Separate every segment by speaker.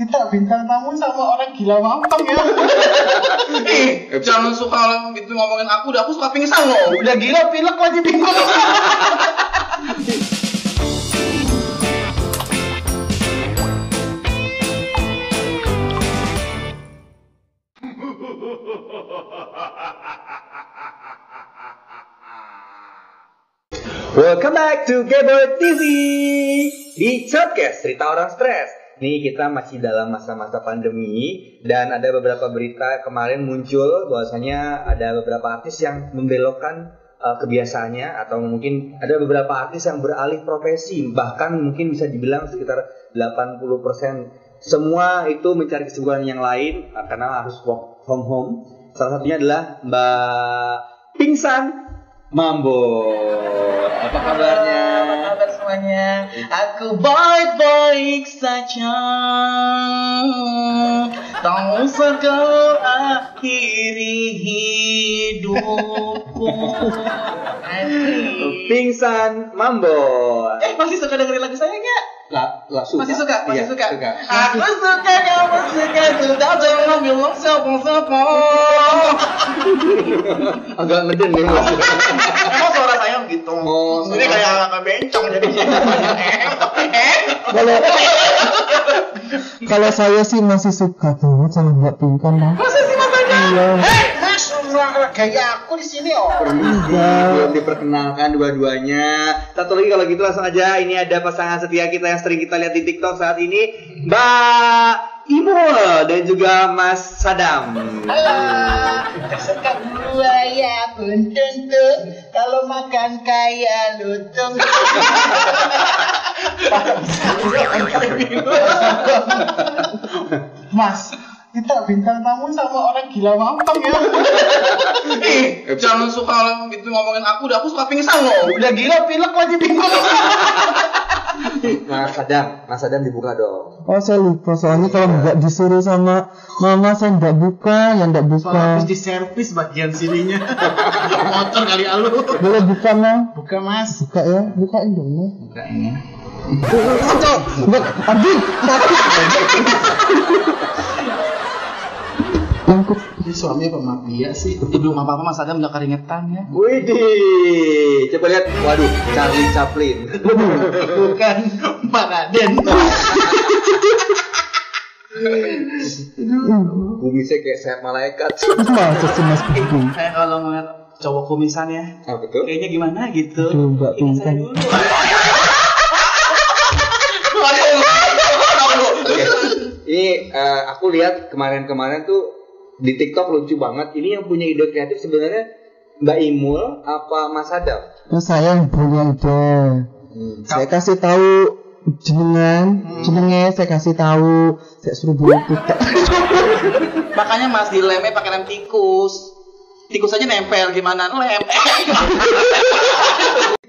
Speaker 1: kita bintang tamu sama orang gila mampang ya.
Speaker 2: Ih, jangan suka orang gitu ngomongin aku, udah aku suka pingsan loh.
Speaker 1: Udah gila pilek lagi bingung.
Speaker 3: Welcome back to Gabber TV di podcast cerita orang stres. Nih kita masih dalam masa-masa pandemi dan ada beberapa berita kemarin muncul bahwasanya ada beberapa artis yang membelokkan uh, kebiasaannya atau mungkin ada beberapa artis yang beralih profesi bahkan mungkin bisa dibilang sekitar 80% semua itu mencari kesibukan yang lain uh, karena harus work from home. Salah satunya adalah Mbak Pingsan Mambo. Apa kabarnya?
Speaker 4: Apa kabar semuanya? Aku baik-baik saja. Tolong segera akhiri hidupku. Asik.
Speaker 3: Pingsan Mambo.
Speaker 4: Eh, masih suka dengerin lagu saya nggak?
Speaker 3: La, la, suka.
Speaker 4: Masih suka, masih
Speaker 3: Iya,
Speaker 4: suka. Aku suka, kamu suka, sudah jangan bilang siapa-siapa.
Speaker 3: Agak ngeden nih mas.
Speaker 2: Emang suara saya gitu.
Speaker 3: Oh,
Speaker 2: Ini
Speaker 3: suara.
Speaker 2: kayak anak bencong jadi. Eh,
Speaker 1: Kalau kalau saya sih masih suka banget sama Mbak Pinkan lah.
Speaker 4: Masa sih masanya?
Speaker 1: Iya.
Speaker 4: Eh, mas, kayak aku di sini, oh.
Speaker 3: Belum diperkenalkan dua-duanya. Satu lagi kalau gitu langsung aja. Ini ada pasangan setia kita yang sering kita lihat di TikTok saat ini, Mbak Imul dan juga Mas Sadam.
Speaker 4: Suka buaya pun tentu Kalau makan kaya lutung
Speaker 1: Mas, kita bintang tamu sama orang gila mampang ya.
Speaker 2: Ih, jangan suka orang gitu ngomongin aku, udah aku suka pingsan loh.
Speaker 1: Udah gila pilek lagi bingung.
Speaker 3: Mas Sadam, Mas Sadam dibuka dong.
Speaker 5: Oh saya lupa soalnya kalau nggak disuruh sama mama saya nggak buka, ya nggak
Speaker 1: Soalnya
Speaker 5: buka.
Speaker 1: habis diservis bagian sininya. Motor kali alu.
Speaker 5: Boleh buka mah?
Speaker 1: Buka Mas.
Speaker 5: Buka ya, bukain dong Ma. Angkut.
Speaker 1: Ini suami apa
Speaker 4: Iya
Speaker 1: mafia sih? Belum apa-apa Mas Adam udah keringetan ya.
Speaker 3: Widih, coba lihat. Waduh, Charlie Chaplin.
Speaker 1: Bukan Pak Raden.
Speaker 3: Bumi saya kayak saya malaikat.
Speaker 5: Masa sih mas Bung?
Speaker 1: Kayak kalau ngeliat cowok kumisan ya,
Speaker 3: Ah, betul.
Speaker 1: kayaknya gimana gitu.
Speaker 5: Aduh, Mbak
Speaker 1: Ini saya
Speaker 5: Pinkan.
Speaker 1: dulu.
Speaker 3: Oke. Ini eh, aku lihat kemarin-kemarin tuh di TikTok lucu banget. Ini yang punya ide kreatif sebenarnya Mbak Imul apa Mas Adam? Nah,
Speaker 5: Nah, saya yang punya ide.
Speaker 1: Hmm, kan-
Speaker 5: Saya kasih tahu jenengan, jenenge saya kasih tahu, saya suruh beli tiket.
Speaker 4: Makanya mas dilemnya pakai lem tikus Tikus aja nempel gimana lem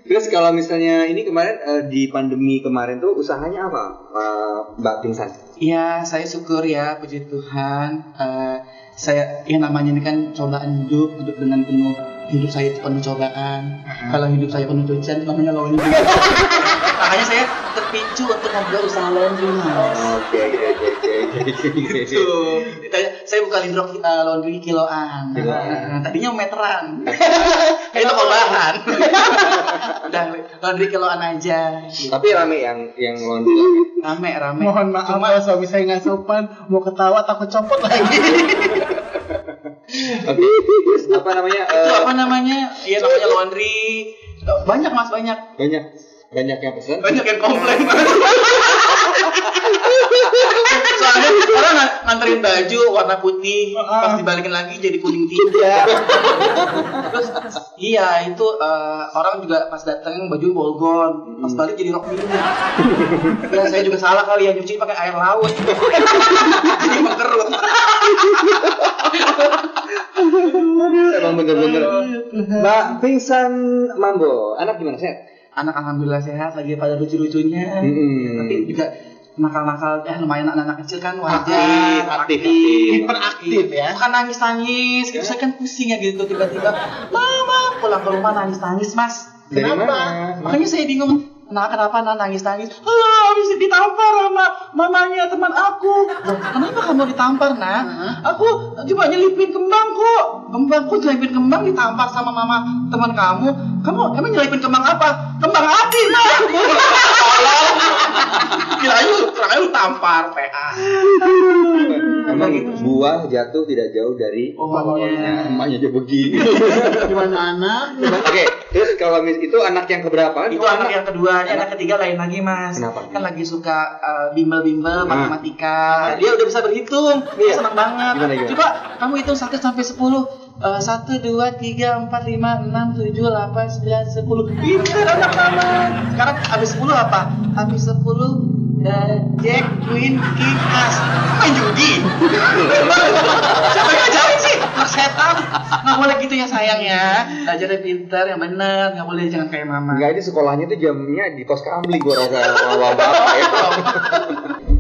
Speaker 3: Terus kalau misalnya ini kemarin eh, di pandemi kemarin tuh usahanya apa eh, Mbak Pingsan?
Speaker 4: Ya saya syukur ya puji Tuhan Eh, Saya yang namanya ini kan cobaan hidup Hidup dengan penuh Hidup saya itu penuh cobaan Kalau hidup saya penuh cucian itu namanya lawan hidup Makanya saya terpicu untuk membuat usaha laundry mas
Speaker 3: Oke oke oke oke oke, oke.
Speaker 4: Tuh, ditanya, saya buka lindro eh, laundry kiloan.
Speaker 3: Kiloan.
Speaker 4: Nah, tadinya meteran. Itu olahan. Udah laundry kiloan aja.
Speaker 3: Tapi rame yang yang laundry.
Speaker 4: Rame rame.
Speaker 1: Mohon maaf
Speaker 4: Cuma
Speaker 1: kalau suami saya nggak sopan, mau ketawa takut copot lagi.
Speaker 3: Oke. Terus apa namanya?
Speaker 4: itu
Speaker 3: eh,
Speaker 4: apa namanya? Iya namanya laundry. Banyak mas banyak.
Speaker 3: banyak banyak yang pesan.
Speaker 4: Banyak yang komplain. Soalnya orang ng- nganterin baju warna putih, pas dibalikin lagi jadi kuning
Speaker 3: Iya.
Speaker 4: tiga. Terus iya itu eh, orang juga pas datang baju bolgon, pas balik jadi rok minyak. ya saya juga salah kali ya nyuci pakai air laut. jadi mengkerut.
Speaker 3: Emang bener-bener. Mbak Pingsan Mambo, anak gimana sehat?
Speaker 4: Anak alhamdulillah sehat lagi pada lucu-lucunya.
Speaker 3: Mm-mm.
Speaker 4: Tapi juga nakal-nakal ya lumayan anak-anak kecil kan wajar
Speaker 3: Aktif, aktif, aktif.
Speaker 1: Hiperaktif ya.
Speaker 4: bukan nangis nangis gitu saya kan pusing ya gitu tiba-tiba mama pulang ke rumah nangis nangis mas
Speaker 3: Dari
Speaker 1: Kenapa?
Speaker 3: mana?
Speaker 4: makanya saya bingung nah kenapa nah nangis nangis ah
Speaker 1: habis ditampar sama mamanya teman aku. Loh, kenapa kamu ditampar, nak? Aku coba nyelipin kembang kok. Kembang kok nyelipin kembang ditampar sama mama teman kamu. Kamu emang nyelipin kembang apa? Kembang api, Ma.
Speaker 4: Kira lu, kira lu tampar PA.
Speaker 3: Emang gitu. buah jatuh tidak jauh dari pohonnya. Emaknya aja begini.
Speaker 1: Gimana anak?
Speaker 3: Oke, terus kalau mis itu anak yang keberapa?
Speaker 4: Itu anak yang kedua, ini anak ketiga lain lagi mas.
Speaker 3: Iya, Kenapa?
Speaker 4: Kan lagi suka eh, bimbel-bimbel,
Speaker 3: Hmm.
Speaker 4: matematika. Dia udah bisa berhitung, dia senang banget.
Speaker 3: Iya. Gimana, gimana?
Speaker 4: Coba kamu hitung 1 sampai 10 satu dua tiga empat lima enam tujuh delapan sembilan sepuluh pinter anak mama sekarang habis sepuluh apa habis sepuluh eh, Jack Queen King As main judi siapa yang ngajarin sih anak setan nggak boleh gitu ya sayang ya belajar yang pinter yang benar nggak boleh jangan kayak mama
Speaker 3: Enggak ini sekolahnya tuh jamnya di pos kamli gua rasa bawa bapak ya.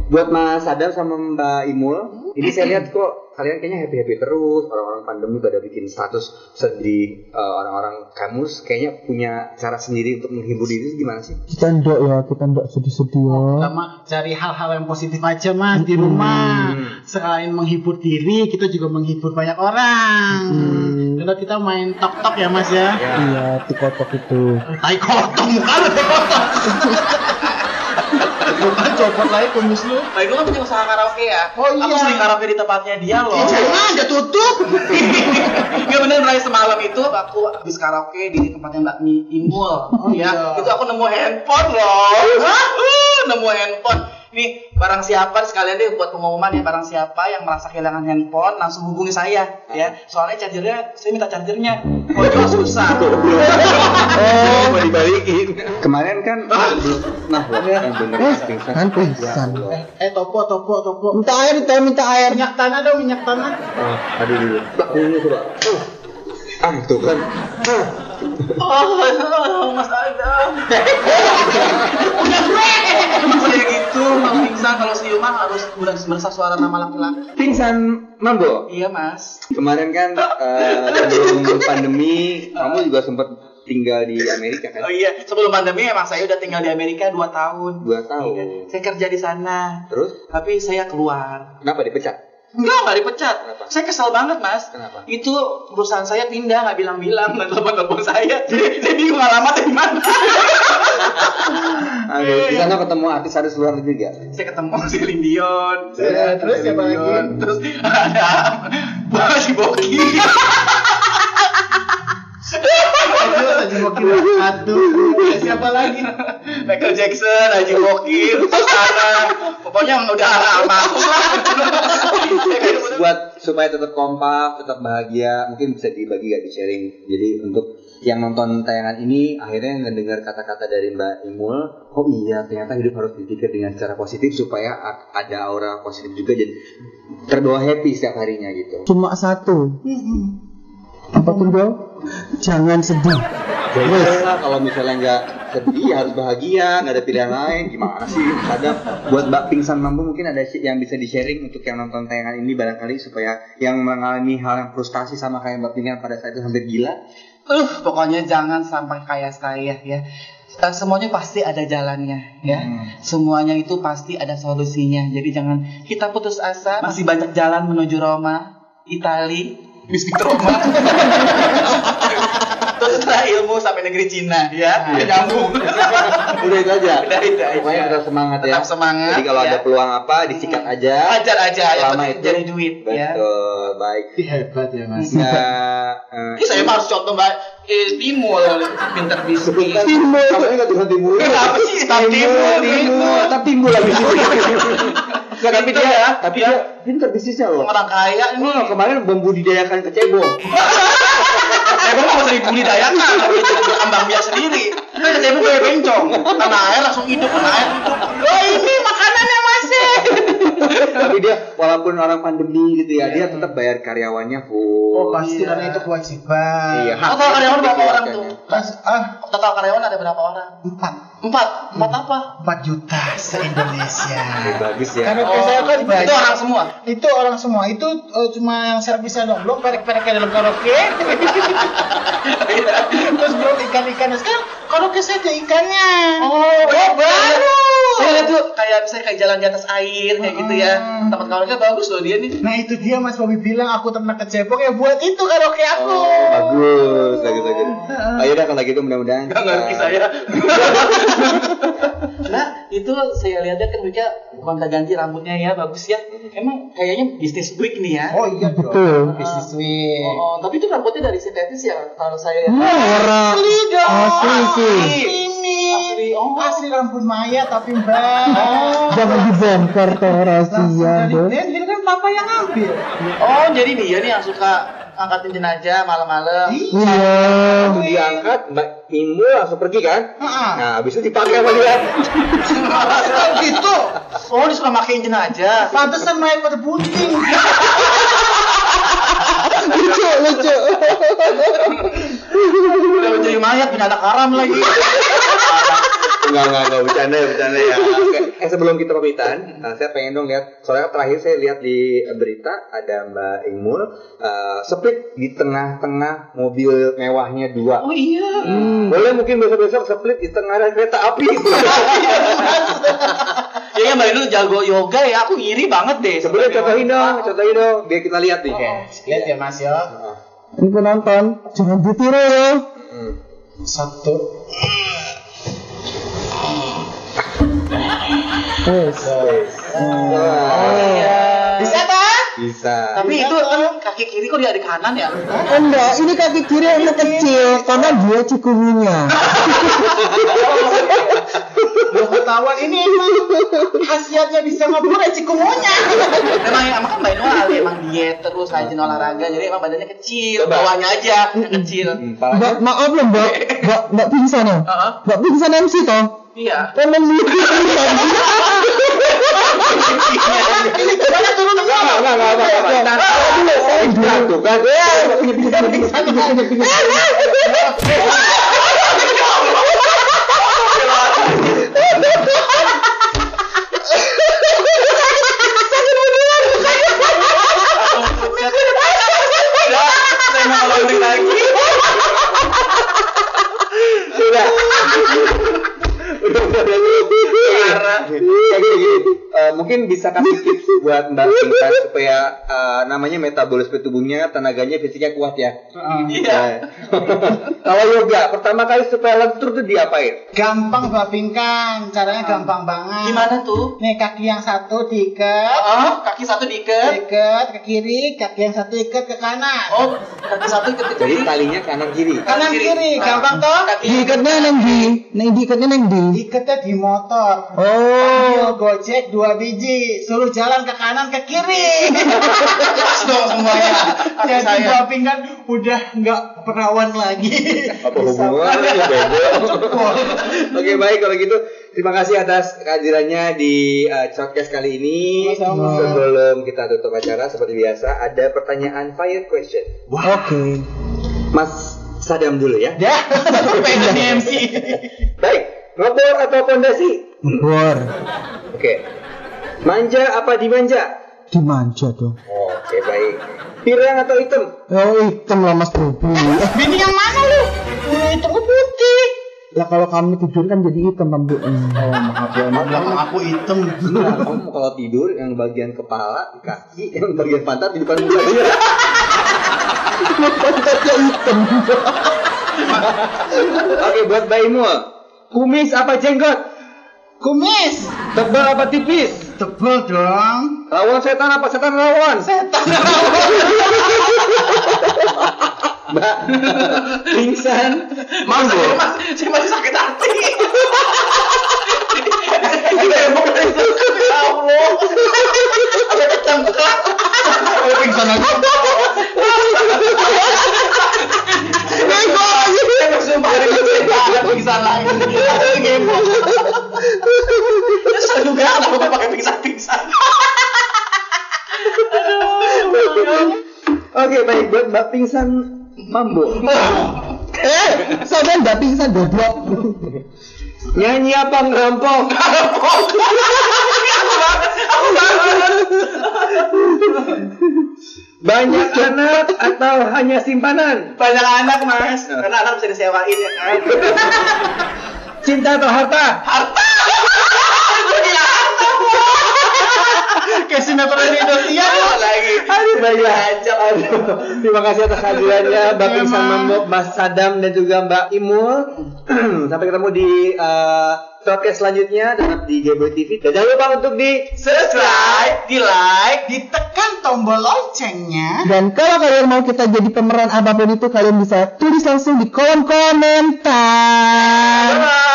Speaker 3: Buat Mas Adam sama Mbak Imul, ini saya lihat kok kalian kayaknya happy happy terus. Orang-orang pandemi pada bikin status sedih. Eh, Orang-orang kamus kayaknya punya cara sendiri untuk menghibur diri itu gimana sih?
Speaker 5: Kita ndak ya, kita ndak sedih-sedih ya.
Speaker 1: Pertama cari hal-hal yang positif aja mas di rumah.
Speaker 3: Hmm.
Speaker 1: Selain menghibur diri, kita juga menghibur banyak orang.
Speaker 5: Hmm.
Speaker 1: Karena kita main tok-tok ya mas ya.
Speaker 3: Ya.
Speaker 5: Iya, tikotok itu.
Speaker 1: Tai kotor muka lu tai kotor. Bukan Ah, copot lagi kumis lu.
Speaker 4: Nah, itu kan punya usaha karaoke ya.
Speaker 1: Oh, iya.
Speaker 4: Aku sering karaoke di tempatnya dia loh.
Speaker 1: Jangan ada tutup.
Speaker 4: Gak bener Bray semalam itu aku habis karaoke di tempatnya Mbak Mi Imul.
Speaker 1: Oh,
Speaker 4: ya,
Speaker 1: iya.
Speaker 4: itu aku nemu handphone loh. Hah? Uh, nemu handphone. Nih, barang siapa sekalian deh buat pengumuman ya barang siapa yang merasa kehilangan handphone langsung hubungi saya ya. Soalnya chargernya saya minta chargernya. Oh, juga susah.
Speaker 3: Oh, mau dibalikin. Kemarin kan, nah, loh, yang bener
Speaker 5: Eh,
Speaker 3: pingsan.
Speaker 5: kan pingsan.
Speaker 3: Ya Allah.
Speaker 1: Eh topo topo topo.
Speaker 5: Minta air itu, minta air.
Speaker 1: Minyak tanah dong minyak tanah.
Speaker 3: Ah, aduh dulu. Pak, ini coba. Ah. Ah, tuh kan. Ah.
Speaker 4: Oh, Mas Adam. Udah gitu, mau pingsan kalau siuman harus meresap suara nama laki-laki.
Speaker 3: Pingsan mambo.
Speaker 4: Iya, Mas.
Speaker 3: Kemarin kan eh, sebelum pandemi kamu juga sempat tinggal di Amerika
Speaker 4: Oh
Speaker 3: kan?
Speaker 4: iya, sebelum pandemi emang saya udah tinggal di Amerika 2 tahun.
Speaker 3: Dua
Speaker 4: Iya.
Speaker 3: tahun.
Speaker 4: Saya kerja di sana,
Speaker 3: Terus
Speaker 4: tapi saya keluar.
Speaker 3: kenapa dipecat?
Speaker 4: Enggak, enggak dipecat.
Speaker 3: Kenapa?
Speaker 4: Saya kesel banget, Mas.
Speaker 3: Kenapa?
Speaker 4: Itu perusahaan saya pindah, nggak bilang-bilang, nggak telepon-telepon saya. Jadi, saya bingung alamatnya di mana.
Speaker 3: Aduh, di sana ketemu artis harus luar negeri gak?
Speaker 4: saya ketemu Celine Dion.
Speaker 1: Ya, terus siapa lagi?
Speaker 4: Celine Dion. Terus ada Bang si Boki.
Speaker 1: Aduh, Haji Mokil. Aduh, ada siapa lagi?
Speaker 4: Michael Jackson, Haji Boki, Susana. Pokoknya udah almarhum lah. Saya kayak bener-
Speaker 3: Buat supaya tetap kompak, tetap bahagia, mungkin bisa dibagi gak di sharing. Jadi untuk yang nonton tayangan ini akhirnya mendengar kata-kata dari Mbak Imul, oh iya ternyata hidup harus dipikir dengan secara positif supaya a- ada aura positif juga jadi terbawa happy setiap harinya gitu.
Speaker 5: Cuma satu. Apa tuh, Bro? Jangan sedih.
Speaker 3: Ya iyalah, kalau misalnya nggak sedih harus bahagia, nggak ada pilihan lain. Gimana sih? Ada buat Mbak Pingsan Mampu mungkin ada sih yang bisa di sharing untuk yang nonton tayangan ini barangkali supaya yang mengalami hal yang frustasi sama kayak Mbak Pingsan pada saat itu hampir gila.
Speaker 4: Uh, pokoknya jangan sampai kayak saya ya. Eh, Semuanya pasti ada jalannya ya. Semuanya itu pasti ada solusinya. Jadi jangan kita putus asa. Masih banyak jalan menuju Roma, Itali, bisnis Roma. Terus setelah ilmu sampai negeri Cina ya.
Speaker 3: Iya.
Speaker 4: Nyambung.
Speaker 3: Udah itu aja.
Speaker 4: Udah itu aja.
Speaker 3: Pokoknya tetap semangat ya.
Speaker 4: Tetap semangat,
Speaker 3: Jadi kalau
Speaker 4: ya.
Speaker 3: ada peluang apa disikat aja.
Speaker 4: Ajar aja yang
Speaker 3: Selama
Speaker 4: penting
Speaker 3: itu
Speaker 4: jadi duit ya.
Speaker 3: Betul. Baik.
Speaker 1: Ih, Hebat ya mas.
Speaker 3: Nah,
Speaker 4: Ini saya mah harus contoh Mbak eh, Timul pinter bisnis.
Speaker 3: Timbul. Kamu nggak Tuhan timbul.
Speaker 4: Kenapa sih Timul?
Speaker 3: timbul, tapi timbul lagi sih. Nggak, tapi
Speaker 4: Pinter
Speaker 3: dia,
Speaker 4: ya.
Speaker 3: tapi
Speaker 4: Dia-
Speaker 3: dia pinter bisnisnya loh.
Speaker 4: Orang kaya ini
Speaker 3: Emang lo kemarin membudidayakan kecebong.
Speaker 4: Saya Eh, mau sering bully dayakan, tapi jadi berkembang biak sendiri. Kan saya mau kayak bencong, tanah air langsung hidup, tanah air hidup. Oh ini makanannya masih.
Speaker 3: Tapi dia walaupun orang pandemi gitu ya, dia tetap bayar
Speaker 1: Oh
Speaker 3: karyawannya full.
Speaker 1: pasti
Speaker 4: Iya.
Speaker 1: karena itu kewajiban.
Speaker 3: Iya.
Speaker 4: Total Oh, karyawan berapa orang tuh?
Speaker 1: Pas ah
Speaker 4: Total karyawan ada berapa orang?
Speaker 1: empat
Speaker 4: Empat. Empat apa?
Speaker 1: 4 juta se Indonesia.
Speaker 3: Ya, bagus ya.
Speaker 1: Karena saya kan banyak.
Speaker 4: itu orang semua.
Speaker 1: itu orang semua itu eh, cuma yang servisnya dong belum perek-pereknya dalam karaoke Oh,
Speaker 4: Iya,
Speaker 1: Nah, Oh, terus belum ikan-ikan sekarang karaoke saya ada ikannya
Speaker 4: Oh, baru. Iya tuh kayak misalnya kayak jalan di atas air kayak gitu ya.
Speaker 1: Hmm.
Speaker 4: Tempat karaoke bagus loh dia nih.
Speaker 1: Nah itu dia Mas Bobby bilang aku temen kecebong ya buat itu karaoke aku.
Speaker 3: Oh, Bagus, bagus, bagus. Ayo dah kalau gitu mudah-mudahan.
Speaker 1: Iya.
Speaker 4: Gak ngerti
Speaker 3: kita-
Speaker 4: saya. nah itu saya lihatnya kan mereka gonta ganti rambutnya ya bagus ya. Emang kayaknya bisnis week nih ya.
Speaker 1: Oh iya dong.
Speaker 5: Betul.
Speaker 1: Bisnis win.
Speaker 4: Oh, tapi itu rambutnya dari sintetis ya kalau saya lihat.
Speaker 5: Wah, orang asli sih.
Speaker 1: Ini
Speaker 4: Asli, oh.
Speaker 1: asli rambut maya tapi mbak. Oh.
Speaker 5: Jangan dibongkar tuh rahasia, Bos.
Speaker 1: Dan kan papa yang ngambil.
Speaker 4: Oh, jadi dia nih yang suka angkatin jenazah malam-malam.
Speaker 5: Iya.
Speaker 3: Waktu diangkat, Mbak Imu langsung pergi kan?
Speaker 1: Heeh.
Speaker 3: Nah, habis itu dipakai sama dia.
Speaker 1: Kalau gitu,
Speaker 4: Oh, dia suka makein jenazah.
Speaker 1: pantesan main pada bunting.
Speaker 5: Lucu, lucu.
Speaker 4: Udah menjadi mayat punya anak haram lagi.
Speaker 3: Enggak, enggak, enggak, bercanda ya, bercanda ya. Oke. Eh, sebelum kita pamitan, eh, saya pengen dong lihat, soalnya terakhir saya lihat di berita ada Mbak Imul eh, split di tengah-tengah mobil mewahnya dua. Hmm.
Speaker 4: Oh iya.
Speaker 3: Boleh mungkin besok-besok split di tengah ada kereta api.
Speaker 4: Ya ya Mbak Inul jago yoga ya, aku ngiri banget deh.
Speaker 3: Sebenarnya contohin dong, contohin dong, biar kita lihat nih.
Speaker 1: Lihat ya Mas ya.
Speaker 3: Heeh.
Speaker 5: Ini penonton, jangan ditiru ya.
Speaker 3: Hmm.
Speaker 1: Satu.
Speaker 5: Wes.
Speaker 3: Wah,
Speaker 4: Bisa kan?
Speaker 3: Hmm. Bisa.
Speaker 4: Tapi itu kan kaki kiri kok dia di kanan ya.
Speaker 5: Enggak, ini kaki kiri yang kecil karena dia cikungunya.
Speaker 1: Gua ketahuan ini emang khasiatnya bisa ngobrol ya cikungunya.
Speaker 4: Emang emang kan Mbak Inul ahli, emang diet terus rajin olahraga, jadi emang badannya kecil,
Speaker 3: Coba.
Speaker 4: bawahnya aja yang kecil.
Speaker 3: Hmm,
Speaker 5: Mbak,
Speaker 3: Palanya
Speaker 5: maaf loh mbak, mbak, mbak pingsan ya?
Speaker 4: Heeh.
Speaker 5: Mbak pingsan MC toh?
Speaker 4: Iya.
Speaker 5: Temen lu pingsan.
Speaker 1: Banyak turun ke
Speaker 3: Enggak, enggak, enggak, enggak, enggak, enggak. Tahan, tahan dulu. Eh, tahan tuh, kan.
Speaker 4: Saya mau ngomong lagi.
Speaker 3: Sudah. Udah, udah, udah, udah. Kayak gini, gini. Eh, mungkin bisa kasih tips buat Mbak Sinta supaya eh, namanya metabolisme tubuhnya, tenaganya, fisiknya kuat ya.
Speaker 4: Iya.
Speaker 3: Nah. Kalau yoga, pertama kali supaya lentur tuh diapain?
Speaker 1: Gampang Mbak Pingkan, caranya gampang banget.
Speaker 4: Gimana tuh?
Speaker 1: Nih kaki yang satu diikat,
Speaker 4: Oh, kaki satu diikat.
Speaker 1: ikat ke kiri, kaki yang satu ikat ke kanan.
Speaker 4: Oh, kaki satu ikat ke
Speaker 3: Jadi
Speaker 4: kiri.
Speaker 3: talinya kanan kiri.
Speaker 1: Kanan kiri, gampang toh?
Speaker 4: Nah. Kaki
Speaker 5: Diikatnya neng di, neng diikatnya neng di.
Speaker 1: Ikatnya di motor.
Speaker 5: Oh,
Speaker 1: Ambil Gojek dua biji, suruh jalan ke kanan ke kiri.
Speaker 4: pas dong semuanya. Kaki
Speaker 1: Jadi
Speaker 4: saya.
Speaker 1: Mbak Pingkan udah nggak perawan lagi.
Speaker 3: Apa hubungannya? ya, Oke baik kalau gitu terima kasih atas kehadirannya di uh, podcast kali ini.
Speaker 1: Sama-sama.
Speaker 3: Sebelum kita tutup acara seperti biasa ada pertanyaan fire question.
Speaker 5: oke.
Speaker 3: Mas Sadam dulu ya.
Speaker 1: Dah, pengen jadi MC.
Speaker 3: Baik, ngebor atau pondasi?
Speaker 5: Bor,
Speaker 3: Oke. Manja apa dimanja?
Speaker 5: dimanja dong.
Speaker 3: Oke baik. Pirang atau hitam?
Speaker 5: Oh hitam lah mas Bobi.
Speaker 1: Bini yang mana lu? Bini itu gua putih.
Speaker 5: Lah kalau kamu tidur kan jadi hitam rambutnya.
Speaker 1: Belakang aku hitam.
Speaker 3: Nah, kamu kalau tidur yang bagian kepala, kaki, yang bagian pantat di depan muka dia.
Speaker 5: Pantatnya hitam.
Speaker 3: Oke buat bayimu. Kumis apa jenggot?
Speaker 1: Kumis.
Speaker 3: Tebal apa tipis?
Speaker 1: Tebel dong.
Speaker 3: Lawan setan apa setan lawan?
Speaker 1: Setan.
Speaker 3: Mbak pingsan.
Speaker 4: Mas, saya, mas, saya masih sakit hati. Ya Allah. Ada kecengklak. Ada pingsan lagi. Saya sumpah hari ini saya ada pingsan lagi. Ada ngemo. Ya, saya juga ada pokoknya pakai pingsan-pingsan.
Speaker 3: Oke baik buat Mbak pingsan mambo.
Speaker 5: Eh, saudara nggak pingsan goblok.
Speaker 3: Nyanyi apa ngerampok? Banyak anak atau hanya simpanan?
Speaker 4: Banyak anak mas, karena anak bisa disewain ya kan.
Speaker 3: Cinta atau harta?
Speaker 4: Harta. sinetron di Indonesia
Speaker 1: Iya,
Speaker 4: lagi.
Speaker 3: Aduh, baiklah. Aduh. Terima kasih atas kehadirannya Iya, Mbak Pingsan Mambok, Mas Sadam dan juga Mbak Imul. Sampai ketemu di eh, podcast selanjutnya tetap di Gameboy TV. Dan jangan lupa untuk di
Speaker 4: Subscribe, di like,
Speaker 1: Ditekan tombol loncengnya.
Speaker 5: Dan kalau kalian mau kita jadi pemeran apapun itu, kalian bisa tulis langsung di kolom komentar.
Speaker 4: bye.